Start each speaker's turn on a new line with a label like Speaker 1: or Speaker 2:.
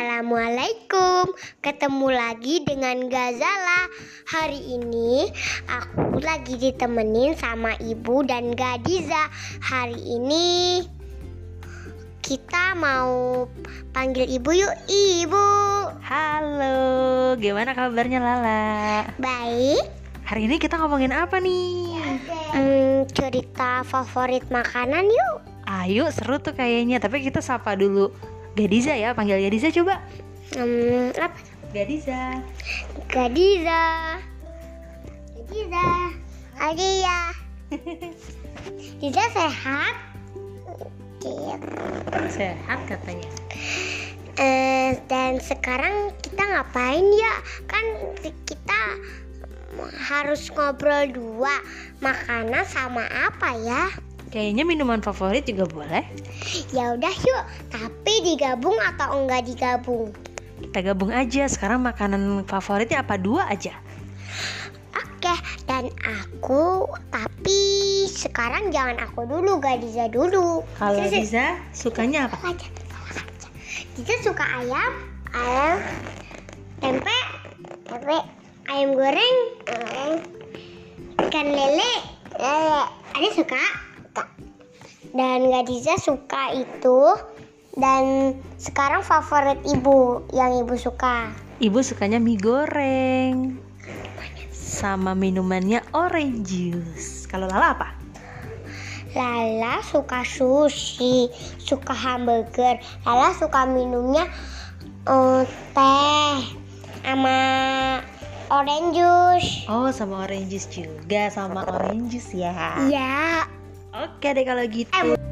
Speaker 1: Assalamualaikum. Ketemu lagi dengan Gazala. Hari ini aku lagi ditemenin sama Ibu dan Gadiza. Hari ini kita mau panggil Ibu yuk, Ibu.
Speaker 2: Halo, gimana kabarnya Lala?
Speaker 1: Baik.
Speaker 2: Hari ini kita ngomongin apa nih?
Speaker 1: Hmm, cerita favorit makanan yuk.
Speaker 2: Ayo, seru tuh kayaknya. Tapi kita sapa dulu. Gadiza ya, panggil Gadiza coba.
Speaker 1: Hmm, apa?
Speaker 2: Gadiza.
Speaker 1: Gadiza. Gadiza. Alia. Diza sehat?
Speaker 2: Sehat katanya.
Speaker 1: Eh, dan sekarang kita ngapain ya? Kan kita harus ngobrol dua makanan sama apa ya?
Speaker 2: Kayaknya minuman favorit juga boleh.
Speaker 1: Ya udah yuk, tapi digabung atau enggak digabung?
Speaker 2: Kita gabung aja. Sekarang makanan favoritnya apa dua aja?
Speaker 1: Oke, dan aku tapi sekarang jangan aku dulu, Gadiza dulu.
Speaker 2: Kalau
Speaker 1: Sisi-
Speaker 2: Gadiza sukanya apa?
Speaker 1: Aja, aja. Kita suka ayam, ayam, tempe, tempe, ayam goreng, goreng, ikan lele, lele. Ada suka? Suka. Dan Gadiza suka itu dan sekarang favorit ibu yang ibu suka.
Speaker 2: Ibu sukanya mie goreng. Sama minumannya orange juice. Kalau Lala apa?
Speaker 1: Lala suka sushi, suka hamburger. Lala suka minumnya eh, teh sama orange juice.
Speaker 2: Oh, sama orange juice juga, sama orange juice ya.
Speaker 1: Ya,
Speaker 2: Oke deh kalau gitu.
Speaker 1: Eh,